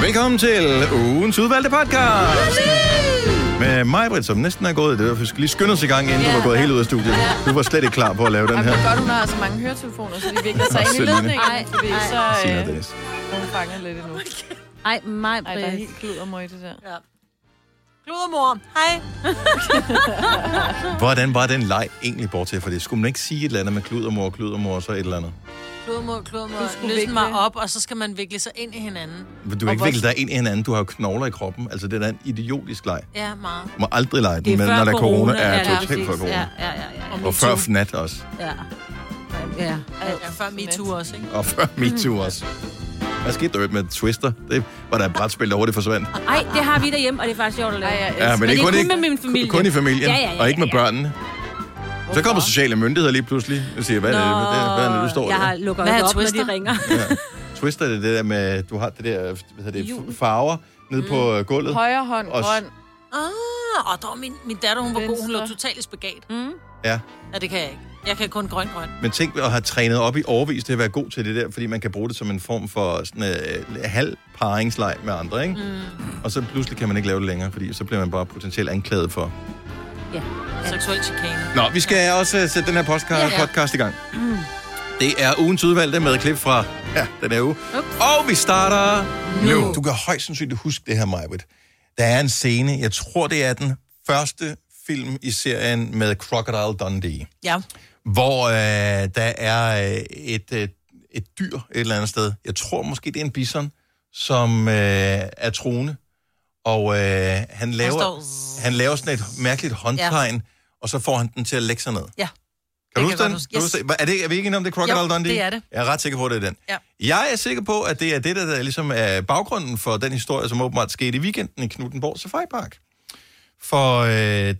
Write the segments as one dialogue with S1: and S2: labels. S1: Velkommen til ugens udvalgte podcast. Med mig, Britt, som næsten er gået. Det var, for vi skal lige skynde os i gang, inden
S2: Ja,
S1: du var gået
S2: ja.
S1: helt ud af studiet. Du var slet ikke klar på at lave den
S2: Ej,
S1: her.
S2: hvor godt, hun har så mange høretelefoner, så de vikler sig ind i
S1: Selv
S2: ledningen.
S3: mine.
S2: Ej, fordi
S3: Ej,
S2: så
S1: Signe og
S2: øh,
S1: Dennis.
S2: hun fanger lidt endnu.
S3: Ej, mig,
S2: Ej, der er
S3: Britt.
S2: helt kludermøg i det der.
S3: Ja.
S2: Kludermor, hej.
S1: Hvordan var den leg egentlig bort til? For det skulle man ikke sige et eller andet med kludermor, kludermor og så et eller andet.
S3: Klodmor, klodmor.
S2: skulle
S3: Løsne mig
S2: vikle.
S3: op, og så skal man vikle sig ind i hinanden.
S1: Du har ikke
S3: hvor-
S1: viklet dig ind i hinanden. Du har jo knogler i kroppen. Altså, det er da en idiotisk leg.
S3: Ja, meget.
S1: Må aldrig lege den, men når der er corona, er
S3: ja,
S1: totalt for
S3: præcis.
S1: corona.
S3: Ja, ja, ja. ja.
S1: Og før fnat også.
S3: ja. Ja, ja, før MeToo
S2: MeToo
S3: også, ikke?
S1: Og før MeToo også. Hvad skete der i øvrigt med Twister? Det var der et brætspil, der hurtigt forsvandt.
S4: Ej, det har vi derhjemme, og det er faktisk sjovt at lave.
S2: Ej, jeg
S1: Ja, men,
S2: elsker.
S1: det er
S4: det er
S1: kun,
S4: kun
S1: ikke,
S4: med min familie.
S1: Kun i familien,
S4: Ja, ja, ja,
S1: og ikke med
S4: ja.
S1: børnene. Så kommer sociale myndigheder lige pludselig og siger, hvad er det, hvad er det, hvad er det du står
S4: Jeg har
S1: der?
S4: lukket
S3: Hvad er
S4: op, når
S3: Twister?
S4: de ringer.
S1: Twister, det er det der med, du har det der, hvad hedder det, farver nede på
S4: Mm.
S1: øh, gulvet.
S2: Højre hånd,
S1: Også.
S2: grøn.
S3: Ah, og der var min, min datter, hun var god, hun lå
S2: Venstre.
S3: totalt i spagat. Mm.
S1: Ja,
S3: Ja, det kan jeg ikke. Jeg kan kun grøn, grøn.
S1: men tænk at have trænet op i overvis til at være god til det der, fordi man kan bruge det som en form for sådan, øh, halv paringsleg med andre, ikke? Mm. Og så pludselig kan man ikke lave det længere, fordi så bliver man bare potentielt anklaget for
S3: Seksuel chikane.
S1: Nå, vi skal også øh, sætte den her podcast, ja.
S3: Ja.
S1: podcast i gang. Mm. Det er ugens udvalgte med et klip fra ja, den her uge. Ups. Og vi starter nu. nu. Du kan højst sandsynligt huske det her, Majbrit. Der er en scene, jeg tror det er den første film i serien med Crocodile Dundee
S3: Ja.
S1: hvor øh, der er øh, et, øh, et dyr et eller andet sted. Jeg tror måske, det er en bison, som øh, er troende. Og øh, han, laver,
S3: står-
S1: han laver sådan et mærkeligt håndtegn, ja. og så får han den til at lægge sig ned.
S3: Ja.
S1: Kan du
S3: Det
S1: huske
S3: kan jeg
S1: den?
S3: godt huske.
S1: Kan du huske det? Er, det, er vi ikke enige om, det er Crocodile
S3: Jo,
S1: Dundee?
S3: det er det.
S1: Jeg er ret sikker på, at det er den.
S3: Ja.
S1: Jeg er sikker på, at det er det, der ligesom er baggrunden for den historie, som åbenbart skete i weekenden i Knuttenborg Safari Park. For øh,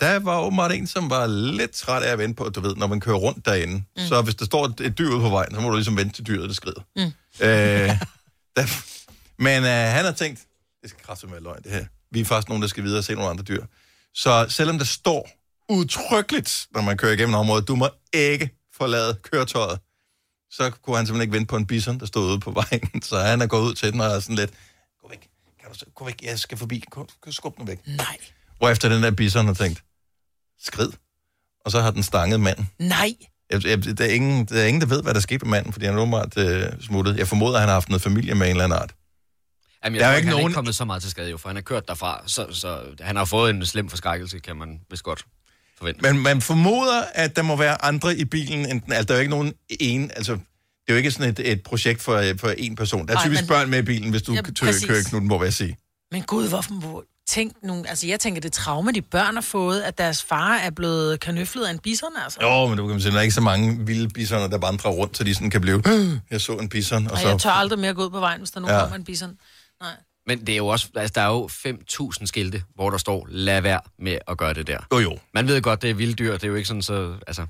S1: der var åbenbart en, som var lidt træt af at vente på, du ved, når man kører rundt derinde. Mm. Så hvis der står et, et dyr ude på vejen, så må du ligesom vente til dyret, det skrider. Mm. Øh, der, men øh, han har tænkt, det skal kraftigt med løgn, det her. Vi er faktisk nogen, der skal videre og se nogle andre dyr. Så selvom der står udtrykkeligt, når man kører igennem området, du må ikke forlade køretøjet, så kunne han simpelthen ikke vente på en bison, der stod ude på vejen. Så han er gået ud til den og er sådan lidt, gå væk, kan du, så- gå væk, jeg skal forbi, gå, gå- skub den væk.
S3: Nej.
S1: Hvor efter den der bison har tænkt, skrid. Og så har den stanget manden.
S3: Nej.
S1: Jeg, jeg, der, er ingen, der er ingen, der ved, hvad der skete med manden, fordi han er åbenbart øh, smuttet. Jeg formoder, at han har haft noget familie med en eller anden art.
S5: Jamen,
S1: Der
S5: jeg der
S1: er jo
S5: tror,
S1: ikke
S5: ikke han nogen... er
S1: nogen-
S5: ikke kommet så meget til skade, jo, for han har kørt derfra, så, så han har fået en slem forskrækkelse, kan man vist godt forvente. Men...
S1: Men man formoder, at der må være andre i bilen, end den, altså, der er jo ikke nogen en, altså, det er jo ikke sådan et, et projekt for, øh, for én person. Der er
S3: Nej,
S1: typisk
S3: men-
S1: børn med i bilen, hvis du
S3: Ja,
S1: ja,
S3: præcis.
S1: kører Knuttenborg, vil jeg sige.
S3: Men gud, hvorfor må... Tænk nogle... Altså, jeg tænker, det traume, de børn har fået, at deres far er blevet kanøflet af en bison, altså.
S1: Jo, men du kan man sige, der er ikke så mange vilde bisoner, der vandrer rundt, så de sådan kan blive, jeg så en bison, og
S3: Og
S1: så...
S3: jeg tør aldrig mere gå ud på vejen, hvis der nu
S1: Ja.
S3: ja. kommer en bison. Nej.
S5: Men det er jo også, altså, der er jo 5.000 skilte, hvor der står, lad være med at gøre det der.
S1: Jo, jo.
S5: Man ved godt, det er vilde dyr, det er jo ikke sådan så, altså...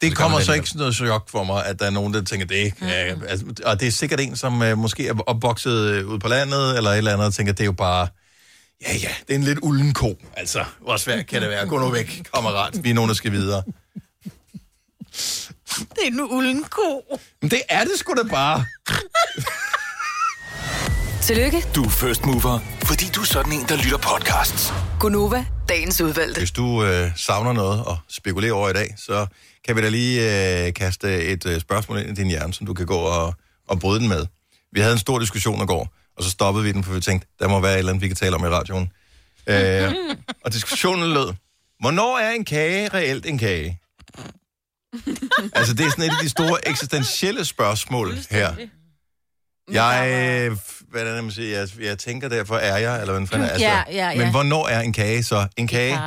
S1: Det
S5: Så
S1: kommer
S5: kommer
S1: så
S5: den
S1: ikke sådan noget chok for mig, at der er nogen, der tænker, det er, mm. altså, og det er sikkert en, som øh, måske er opvokset øh, ude på landet, eller et eller andet, og tænker, det er jo bare, ja ja, det er en lidt ulden ko. Altså, hvor svært kan det være? Gå nu væk, kammerat. Vi er nogen, der skal videre.
S3: Det er en ulden ko.
S1: Men det er det sgu da bare.
S6: Tillykke,
S7: Du er first mover, fordi du er sådan en, der lytter podcasts.
S6: Gunova, dagens udvalgte.
S1: Hvis du øh, savner noget at spekulere over i dag, så kan vi da lige øh, kaste et øh, spørgsmål ind i din hjerne, som du kan gå og, og bryde den med. Vi havde en stor diskussion i går, og så stoppede vi den, for vi tænkte, der må være et eller andet, vi kan tale om i radioen. Øh, og diskussionen lød, hvornår er en kage reelt en kage? altså, det er sådan et af de store eksistentielle spørgsmål her.
S4: Mm.
S1: Jeg, øh, hvad er det, man siger, jeg, jeg tænker derfor, er jeg, eller hvad fanden er altså,
S4: Ja, ja, ja.
S1: Men hvornår er en kage så en kage?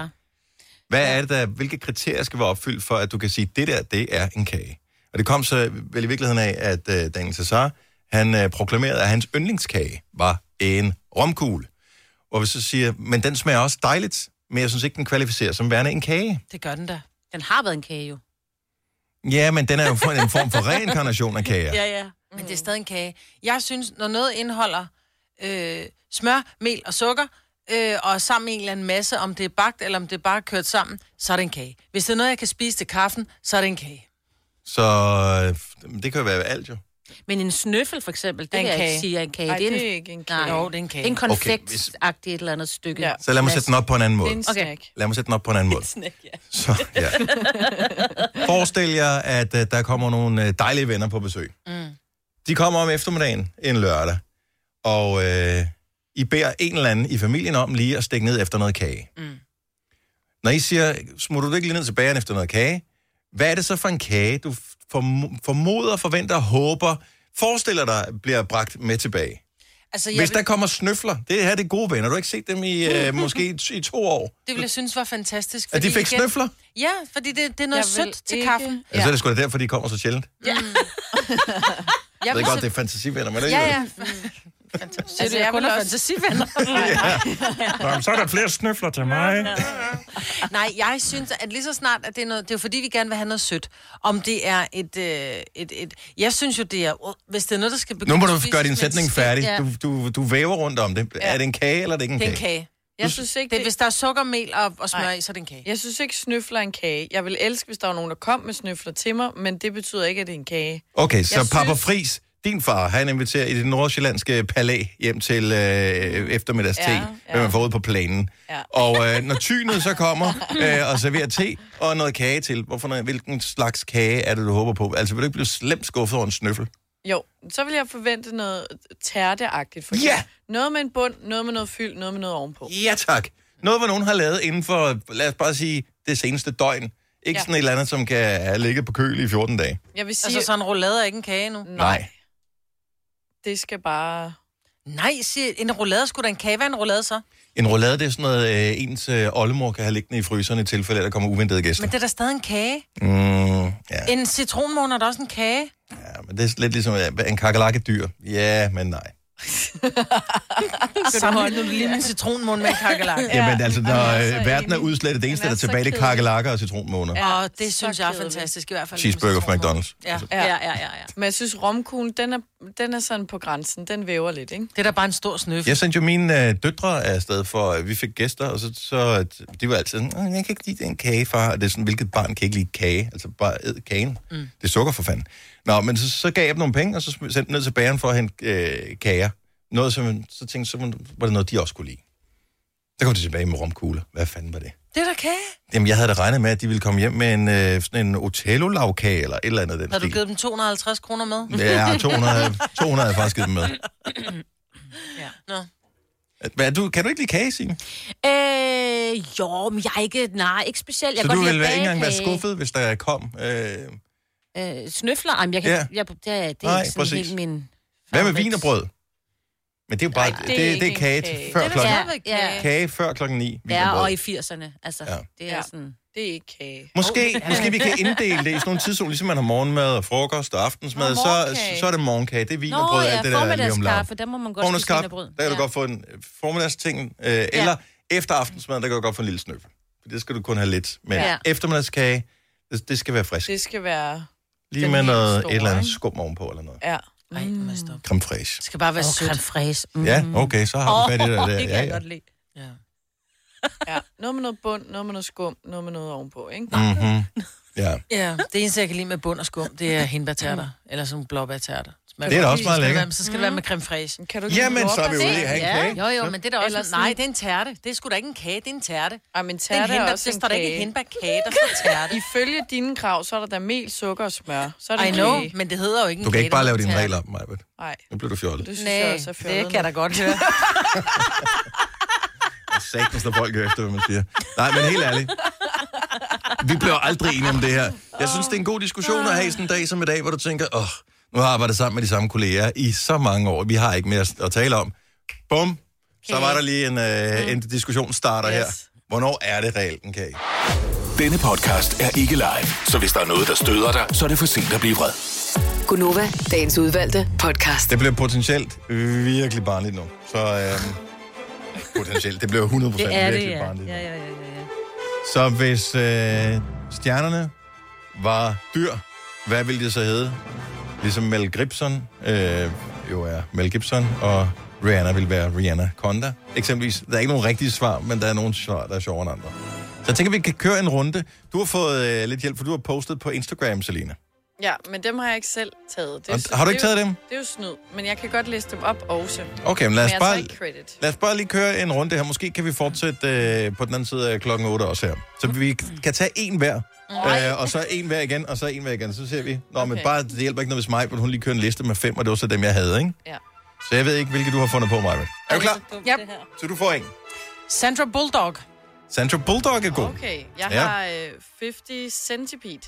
S1: Hvad er det, der, hvilke kriterier skal være opfyldt for, at du kan sige, det der, det er en kage? Og det kom så vel i virkeligheden af, at øh, Daniel Cesar, han øh, proklamerede, at hans yndlingskage var en romkugle. Og vi så siger, men den smager også dejligt, men jeg synes ikke, den kvalificerer som værende en kage.
S3: Det gør den da.
S4: Den har været en kage jo.
S1: Ja, men den er jo for- en form for reinkarnation af kager.
S3: Ja, ja. Men det er stadig en kage. Jeg synes, når noget indeholder øh, smør, mel og sukker, øh, og sammen med en eller anden masse, om det er bagt, eller om det er bare kørt sammen, så er det en kage. Hvis det er noget, jeg kan spise til kaffen, så er det en kage.
S1: Så øh, det kan jo være alt jo.
S4: Men en snøffel for eksempel, det
S3: En
S4: kan jeg ikke
S3: kage.
S4: sige er en kage.
S2: Ej, det
S4: en-
S2: er ikke en
S4: Nej,
S2: kage.
S4: jo, det er en kage. En konfekt
S1: Okay, hvis-
S4: et eller andet stykke.
S2: Ja.
S4: Ja.
S1: Så lad mig sætte den op på en anden måde.
S2: Det er en
S4: Okay.
S2: snack.
S1: Lad mig sætte den op på en anden måde. Så, ja. Forestil jer, at uh, der kommer nogle uh, dejlige venner på besøg. Mm. De kommer om eftermiddagen en lørdag, og uh, I beder en eller anden i familien om lige at stikke ned efter noget kage. Mm. Når I siger, smutter du ikke lige ned til bageren efter noget kage? Hvad er det så for en kage, du form- formoder, forventer, håber, forestiller dig, bliver bragt med tilbage?
S3: Altså, jeg
S1: Hvis
S3: vil,
S1: der kommer snøfler, det her det er gode venner, du har ikke set dem i øh, måske i, i to år,
S3: det ville jeg synes var fantastisk.
S1: at de
S3: fordi
S1: fik
S3: igen-
S1: snøfler?
S3: Ja, fordi det, det er noget
S2: Jeg vil
S3: sødt til
S2: ikke-
S3: kaffen.
S1: Ja. Så er det sgu da derfor, de kommer så sjældent.
S3: Jeg
S1: Jeg altså, ved
S3: vil
S1: godt,
S3: så-
S1: det er fantasivenner, men
S3: Ja,
S1: alligevel.
S3: ja. Fantastisk. Altså, jeg vil også...
S4: fantasivenner.
S1: Nå, men så er der flere snøfler til mig.
S3: Nej, jeg synes, at lige så snart, at det er noget... Det er jo fordi, vi gerne vil have noget sødt. Om det er et... Øh, et, et jeg synes jo, det er... Hvis det er noget, der skal begynde...
S1: Nu må du
S3: at spises
S1: gøre din
S3: med en
S1: sætning
S3: skæl-
S1: færdig.
S3: Ja.
S1: Du, du, du væver rundt om det. Er det en kage, eller er det ikke en
S3: Det er en
S1: kage?
S3: kage.
S2: Jeg synes ikke,
S3: Det, er, hvis der er sukker, mel og, og smør
S2: Nej.
S3: i, så er det en kage.
S2: Jeg synes ikke, snøfler er en kage. Jeg vil elske, hvis der var nogen, der kom med snøfler til mig, men det betyder ikke, at det er en kage.
S1: Okay, så
S2: Jeg
S1: Papa
S2: synes-
S1: Fris, din far, han inviterer i det nordsjællandske palæ hjem til øh, eftermiddags te,
S2: Ja,
S1: ja. man får ud på planen.
S2: Ja.
S1: Og øh, når tynet så kommer øh, og serverer te og noget kage til, hvorfor, noget- hvilken slags kage er det, du håber på? Altså, vil du ikke blive slemt skuffet over en snøffel?
S2: Jo, så vil jeg forvente noget tærteagtigt. For
S1: Ja!
S2: eksempel. Noget med en bund, noget med noget fyld, noget med noget ovenpå.
S1: Ja tak. Noget, hvad nogen har lavet inden for, lad os bare sige, det seneste døgn. Ikke ja.
S2: Ja.
S1: sådan et eller andet, som kan have ligget på køl i 14 dage.
S2: Jeg vil sige,
S3: Altså, så en roulade er ikke en kage nu.
S1: Nej.
S2: det skal bare...
S3: Nej, sig, en roulade skulle da en kage. Hvad er en roulade så?
S1: En roulade, det er sådan noget, øh, ens øh, oldemor kan have liggende i fryseren i tilfælde, at der kommer uventede gæster.
S3: Men det er da stadig en kage.
S1: Mm, ja.
S3: En citronmåne er da også en kage.
S1: ja, men det er lidt ligesom ja, en kakalakkedyr. Ja, men nej.
S3: Sammenligner du lige med en citronmåne med en kakelak?
S1: Ja, Jamen altså, når øh, verden er
S2: enig.
S1: udslettet, det eneste,
S2: Den
S1: der
S2: er
S1: er
S2: så
S1: tilbage, det er
S2: kedelig.
S1: kakelakker og citronmåner. Ja.
S2: Ja,
S3: Og det
S2: så
S3: synes jeg er
S2: kedeligt.
S3: fantastisk i hvert fald.
S1: Cheeseburger fra
S3: med citronmåne.
S1: McDonald's.
S3: Altså, Ja.
S2: Ja.
S4: Ja, ja, ja, ja.
S2: Men jeg synes, romkuglen, den er, den er sådan på grænsen. Den væver lidt, ikke?
S3: Det er da bare en stor snøf.
S1: Jeg sendte jo mine øh, døtre afsted, for øh, vi fik gæster, og så, så øh, de var altid sådan, "Åh, jeg kan ikke lide den kage, far. Og det er sådan, hvilket barn kan ikke lide kage? Altså bare æd kagen. Mm. Det er sukker for fanden. Nå, men så, så gav jeg dem nogle penge, og så sm- sendte dem ned til bageren for at hente øh, kager. Noget, som så tænkte, så var det noget, de også kunne lide. Så kom de tilbage med romkugler. Hvad fanden var det?
S3: Det er da kage.
S1: Jamen, jeg havde da regnet med, at de ville komme hjem med en, øh, sådan en Otello-lavkage, eller et eller andet af den
S3: Har du
S1: stil.
S3: givet dem 250 kroner med?
S1: Ja, 200, 200 havde jeg faktisk givet dem med.
S3: Nå.
S1: Hvad, er du, kan du ikke lide kage, Signe?
S4: Øh, jo, men jeg er ikke, nej, ikke specielt. Jeg
S1: Så
S4: kan
S1: du
S4: godt lide
S1: ville
S4: at
S1: være- ikke
S4: bage
S1: engang være
S4: kage.
S1: skuffet, hvis der kom. Øh,
S4: Øh, snøfler, Jamen, jeg kan,
S1: Ja.
S4: ja. jeg, det, er- det er
S1: Nej,
S4: nej, ikke sådan
S1: præcis.
S4: præcis. helt min...
S1: hvad med
S4: favorit.
S1: vin og brød? Men det er jo bare, Nej, det,
S2: det er
S1: det, det
S2: ikke
S1: er kage,
S2: en
S1: til
S2: kage.
S1: før
S3: Det er da
S1: klokken,
S3: stadigvæk kage.
S1: kage før klokken 9. Vin
S4: Ja,
S1: og brød.
S4: og i 80'erne, altså.
S1: Ja.
S4: Ja. Det er
S2: Ja.
S4: sådan...
S2: Det er ikke kage.
S1: Måske, oh, måske vi kan inddele det i sådan nogle tidszoner, ligesom man har morgenmad og frokost og aftensmad,
S2: Nå,
S1: så,
S2: morgenkage.
S1: så er det morgenkage, det er vin
S4: Nå,
S1: og brød,
S4: ja,
S1: alt det der er lige om lav.
S4: formiddagskaffe, der må man godt spise vin og
S1: Formiddagsskaffe,
S4: brød.
S1: der kan du
S4: Ja.
S1: godt få en øh, formiddagsting, øh, eller efter aftensmad, der kan du godt få en lille snøffel. For det skal du kun have lidt. Men
S4: Ja.
S1: eftermiddagskage, det, det skal være frisk.
S2: Det skal være...
S1: Lige
S2: den
S1: med
S2: helt
S1: noget,
S2: store,
S1: et eller andet
S2: ikke?
S1: skum ovenpå eller noget.
S2: Ja.
S3: Nej, mm. må jeg stoppe.
S1: Creme fraiche.
S3: Det skal bare være
S4: Og
S3: oh, sødt.
S4: creme fraise. Mm.
S1: Ja, okay, så har du fat i det der.
S4: Det kan
S1: ja,
S4: jeg
S1: ja.
S4: godt lide.
S3: Ja.
S2: ja. Noget med noget bund, noget med noget skum, noget med noget ovenpå,
S3: Mm.
S2: ikke?
S1: Mm-hmm. Ja.
S3: ja, det eneste, jeg kan lide med bund og skum, det er hindbærtærter. Eller sådan blåbærtærter. Smager
S1: Det er da
S3: godt.
S1: også meget
S3: Så skal det
S1: lækkert.
S3: være- Så skal det være med creme fraiche.
S2: Kan du ikke
S1: Jamen, så er vi ude i at have en
S4: Ja,
S1: kage.
S4: jo, jo, men det er da også...
S2: Eller
S3: Eller
S2: sådan-
S3: Nej, det er altså en tærte. Det er sgu da ikke en kage, det er en tærte.
S2: Ej, men
S3: Det er en
S2: tærte er
S3: hindbær,
S2: også
S3: der
S2: en
S3: står der ikke
S2: kage.
S3: en hindbærkage, der står tærte.
S2: Ifølge dine krav, så er der da mel, sukker og smør. Så er det
S3: I
S2: en
S3: know,
S2: kage.
S3: men det hedder jo ikke en
S1: Du kan ikke
S3: kage,
S1: bare
S3: det
S1: lave
S3: hedder
S1: dine
S3: en
S1: regler om, Majbet.
S2: Nej,
S1: Nu bliver du fjollet.
S2: det synes
S3: tærte.
S2: jeg også er
S3: Nej,
S2: fjollet.
S3: det kan jeg da godt høre.
S1: Sagtens, når folk hører efter, hvad man siger. Nej, men helt ærligt. Vi bliver aldrig enige om det her. Jeg synes, det er en god diskussion at have sådan en dag som i dag, hvor du tænker, åh, oh, nu har jeg arbejdet sammen med de samme kolleger i så mange år. Vi har ikke mere at tale om. Bum. Så var der lige en, øh, en diskussion starter her.
S2: Yes.
S1: Hvornår er det reelt en kage?
S7: Denne podcast er ikke live, så hvis der er noget, der støder dig, så er det for sent at blive vred.
S6: Gunova, dagens udvalgte podcast.
S1: Det bliver potentielt virkelig barnligt nu. Så øh, potentielt. Det bliver 100%
S4: Det er det,
S1: virkelig
S4: ja.
S1: barnligt. nu.
S4: Ja, ja, ja, ja, ja.
S1: Så hvis øh, stjernerne var dyr, hvad ville det så hedde? Ligesom Mel Gibson, øh, jo er Mel Gibson, og Rihanna vil være Rihanna Conda. Eksempelvis, der er ikke nogen rigtige svar, men der er nogle svar, der er sjovere end andre. Så jeg tænker, vi kan køre en runde. Du har fået øh, lidt hjælp, for du har postet på Instagram, Selina.
S2: Ja, men dem har jeg ikke selv taget.
S1: Og
S2: så-
S1: har du ikke
S2: er
S1: taget
S2: jo-
S1: dem?
S2: Det er jo snyd, men jeg kan godt læse dem op også.
S1: Okay, men lad os,
S2: Men jeg
S1: bare,
S2: tager ikke credit.
S1: lad os bare lige køre en runde her. Måske kan vi fortsætte øh, på den anden side af klokken 8 også her. Så vi kan tage en hver, øh, og så en hver igen, og så en hver igen. Så ser vi. Nå, okay. men
S2: Okay.
S1: bare, det hjælper ikke noget, hvis mig, hun lige kører en liste med fem, og det var så dem, jeg havde, ikke?
S2: Ja.
S1: Så jeg ved ikke, hvilke du har fundet på, mig. Er du klar?
S8: Yep.
S1: Så du får en.
S8: Sandra Bulldog.
S1: Sandra Bulldog er god. Okay.
S2: Okay, jeg
S1: Ja.
S2: har øh, 50 centipede.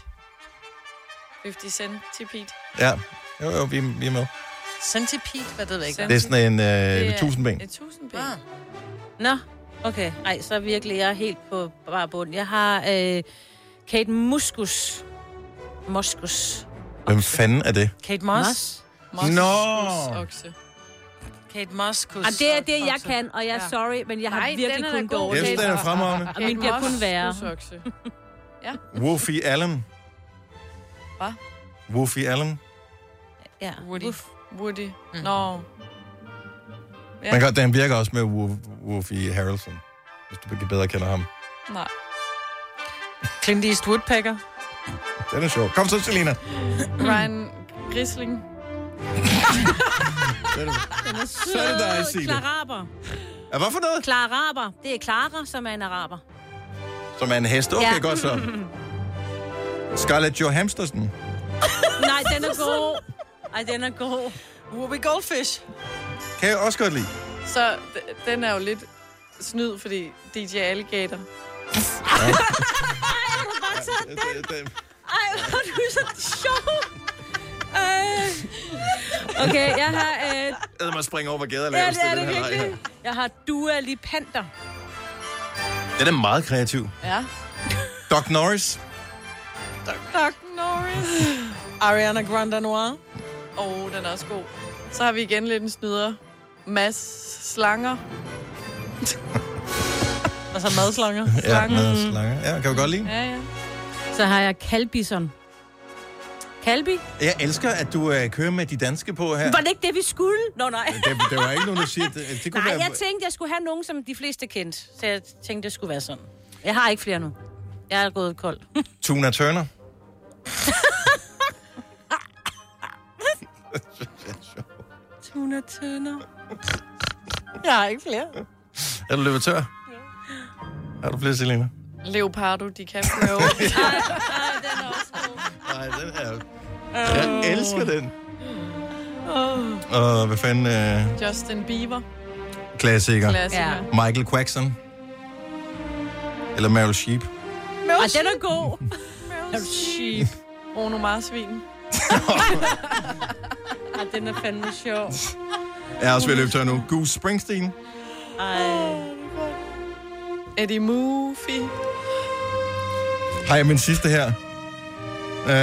S2: 50 centipede.
S1: Ja, jo, jo, vi, vi er med.
S8: Centipede, hvad det ved jeg ikke.
S1: Det er sådan en
S2: Det
S1: øh,
S2: er
S1: 1000 ben.
S2: Et tusindben.
S8: Ah.
S2: Ah.
S3: Nå, okay. Ej, så er virkelig, jeg er helt på bare bund. Jeg har øh, Kate Muskus. Moskus.
S1: Hvem fanden er det?
S8: Kate Moss.
S3: Moss.
S1: Nå.
S2: Okse.
S8: Kate Moss. Kus,
S3: Jamen, Ah, det er det, jeg
S8: okse.
S3: kan, og jeg er sorry, men jeg har
S2: Nej,
S3: virkelig
S2: den er da
S3: kun
S2: god.
S3: dårligt.
S1: Jeg synes, den er fremragende.
S3: Og min bliver kun værre.
S2: Okse.
S1: Woofy Allen.
S2: Hvad?
S1: Woofy Allen.
S3: Ja.
S2: Woody.
S3: Uff.
S2: Woody. Mm. Nå. Ja.
S1: Man kan, den virker også med Wo- Woofy Harrelson, hvis du ikke bedre kender ham.
S2: Nej.
S8: Clint Eastwood Packer.
S1: Den er sjov. Kom så, Selina.
S2: Ryan Grisling.
S1: Så er det dig, Signe.
S3: Klaraber.
S1: Ja, hvad for noget?
S3: Klaraber. Det er Clara, som er en araber.
S1: Som er en hest. Okay, ja.
S3: Ja.
S1: godt så. Scarlett Johansson.
S3: Nej, den er god. Ej, den er god.
S8: Ruby Goldfish.
S1: Kan jeg også godt lide.
S2: Så d- den er jo lidt snyd, fordi DJ Alligator.
S1: Øh, det- det-
S3: Ej, hvor er du så sjov. Øh. Okay, jeg har... Øh,
S1: Jeg mig springe over, hvor gader
S3: ja,
S1: laves
S3: det er
S1: den
S3: det
S1: her vej
S3: virkelig. Jeg har Dua Lipander.
S1: her. Den er meget kreativ.
S2: Ja.
S1: Doc Norris.
S2: Doc Norris.
S8: Ariana Grande Noir.
S2: Åh, oh, den er også god. Så har vi igen lidt en snyder. Mads Slanger.
S8: Altså madslanger.
S1: Ja, med slanger. Ja, kan vi godt lide.
S2: Ja, ja.
S3: Så har jeg Kalbison. Kalbi?
S1: Jeg elsker, at du øh, kører med de danske på her.
S3: Var det ikke det, vi skulle? Nå, nej.
S1: Det, det var ikke nogen, der siger, det, det kunne
S3: Nej,
S1: være...
S3: jeg tænkte, jeg skulle have nogen, som de fleste kendte. Så jeg tænkte, det skulle være sådan. Jeg har ikke flere nu. Jeg er gået kold.
S1: Tuna Turner.
S3: Tuna Turner.
S8: Jeg har ikke flere.
S1: Er du løbet tør? Ja. Er du flere, Selina?
S2: Leopardo DiCaprio.
S1: Nej, den er... Jeg elsker den. Og hvad fanden... Øh,
S2: Justin Bieber.
S1: klassiker.
S2: Klassiker.
S3: Ja.
S2: Ja.
S1: Michael Quackson. Eller Meryl Sheep.
S3: Og den er god.
S2: Sheep. Bruno Marsvin.
S3: Og den er fandme sjov.
S1: Jeg er også ved at løbe tør nu. Goose Springsteen.
S3: Ej.
S2: Eddie Murphy.
S1: Har jeg min sidste her? Øh,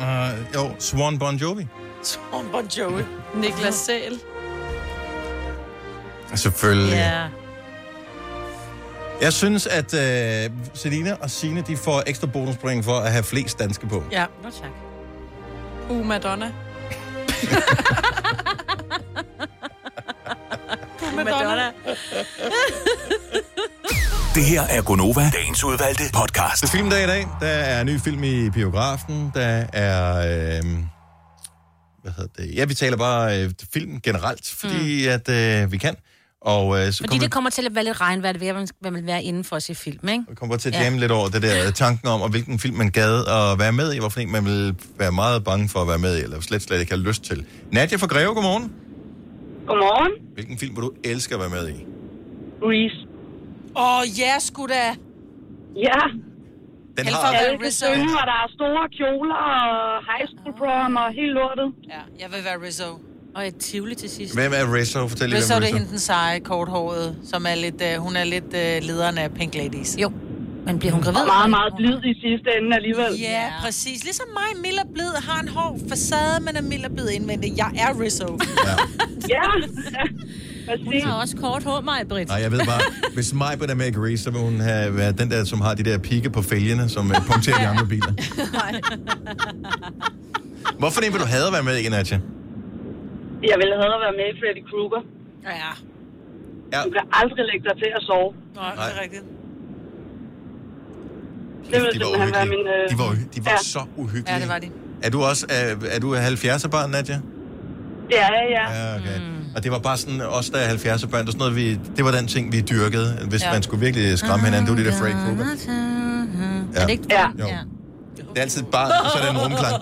S1: øh, jo, Swan Bon Jovi.
S8: Tom Bon Jovi.
S2: Niklas Sæl.
S1: Selvfølgelig.
S3: Ja.
S1: Jeg synes, at øh, Selina og Sine, de får ekstra bonuspoint for at have flest danske på.
S8: Ja.
S3: Nå, tak.
S2: Uh, Madonna.
S8: Uh,
S2: Uh,
S3: Madonna.
S7: Det her er Gonova, dagens udvalgte podcast.
S1: Det er filmdag i dag. Der er en ny film i biografen. Der er... Øh, hvad hedder det? Ja, vi taler bare øh, film generelt, fordi mm. at øh, vi kan. Og øh, så
S3: Fordi
S1: kommer
S3: det kommer til at være lidt regnvejr, det vil jeg, man vil være inden for at se film, ikke?
S1: vi kommer til at jamme lidt over det der øh, tanken om, og hvilken film man gad at være med i, hvorfor en man vil være meget bange for at være med i, eller slet, slet ikke har lyst til. Nadia fra Greve, godmorgen.
S9: Godmorgen.
S1: Hvilken film vil du elske at være med i?
S9: Reese.
S8: Åh, ja, sgu da.
S9: Ja,
S1: Den
S8: Held for
S1: har,
S8: at
S9: alle
S8: være
S9: kan
S8: Rizzo.
S9: synge, og der er store kjoler og high school prom og helt lortet.
S8: Ja, jeg vil være Rizzo.
S3: Og et tivoli til sidst.
S1: hvem er Rizzo? Fortæl lige,
S8: Rizzo,
S1: hvem
S8: det er
S1: Rizzo.
S8: hende den seje, korthåret, som er lidt, øh, hun er lidt øh, lederen af Pink Ladies.
S3: Jo, men bliver hun gravid?
S9: Og meget, meget blid i sidste ende alligevel.
S8: Ja, præcis. Ligesom mig, Miller Blid har en hård facade, men er Miller Blid indvendig. Jeg er Rizzo.
S9: Ja, ja. præcis.
S3: Hun har også kort hår, mig, Britt.
S1: Nej, jeg ved bare, hvis mig på der med Grease, så vil hun have været den der, som har de der pigge på fælgene, som øh, punkterer de andre biler. Hvorfor det vil du have at være med i, Nadia?
S9: Jeg ville have været med i Freddy Krueger.
S8: Ja.
S1: Ja.
S9: Du kan aldrig lægge dig til at sove.
S8: Nå, det
S1: Nej.
S8: er rigtigt.
S10: Det ville
S1: de var
S10: simpelthen være
S1: uhyggelige.
S10: min... Øh...
S1: De var, uhy- de var
S10: ja.
S1: så uhyggelige.
S3: Ja, det var de.
S1: Er du også er, er du 70'er barn, Nadja?
S10: Det er jeg, ja.
S1: Ja, okay. Mm. Og det var bare sådan, os der er 70'er børn, det, var sådan noget, vi, det var den ting, vi dyrkede, hvis ja.
S3: Ja.
S1: man skulle virkelig skræmme hinanden. Det var det der Freddy Krueger.
S4: Er det ikke
S10: Ja.
S1: Jo. Det er altid et barn, og så er der en rumklang.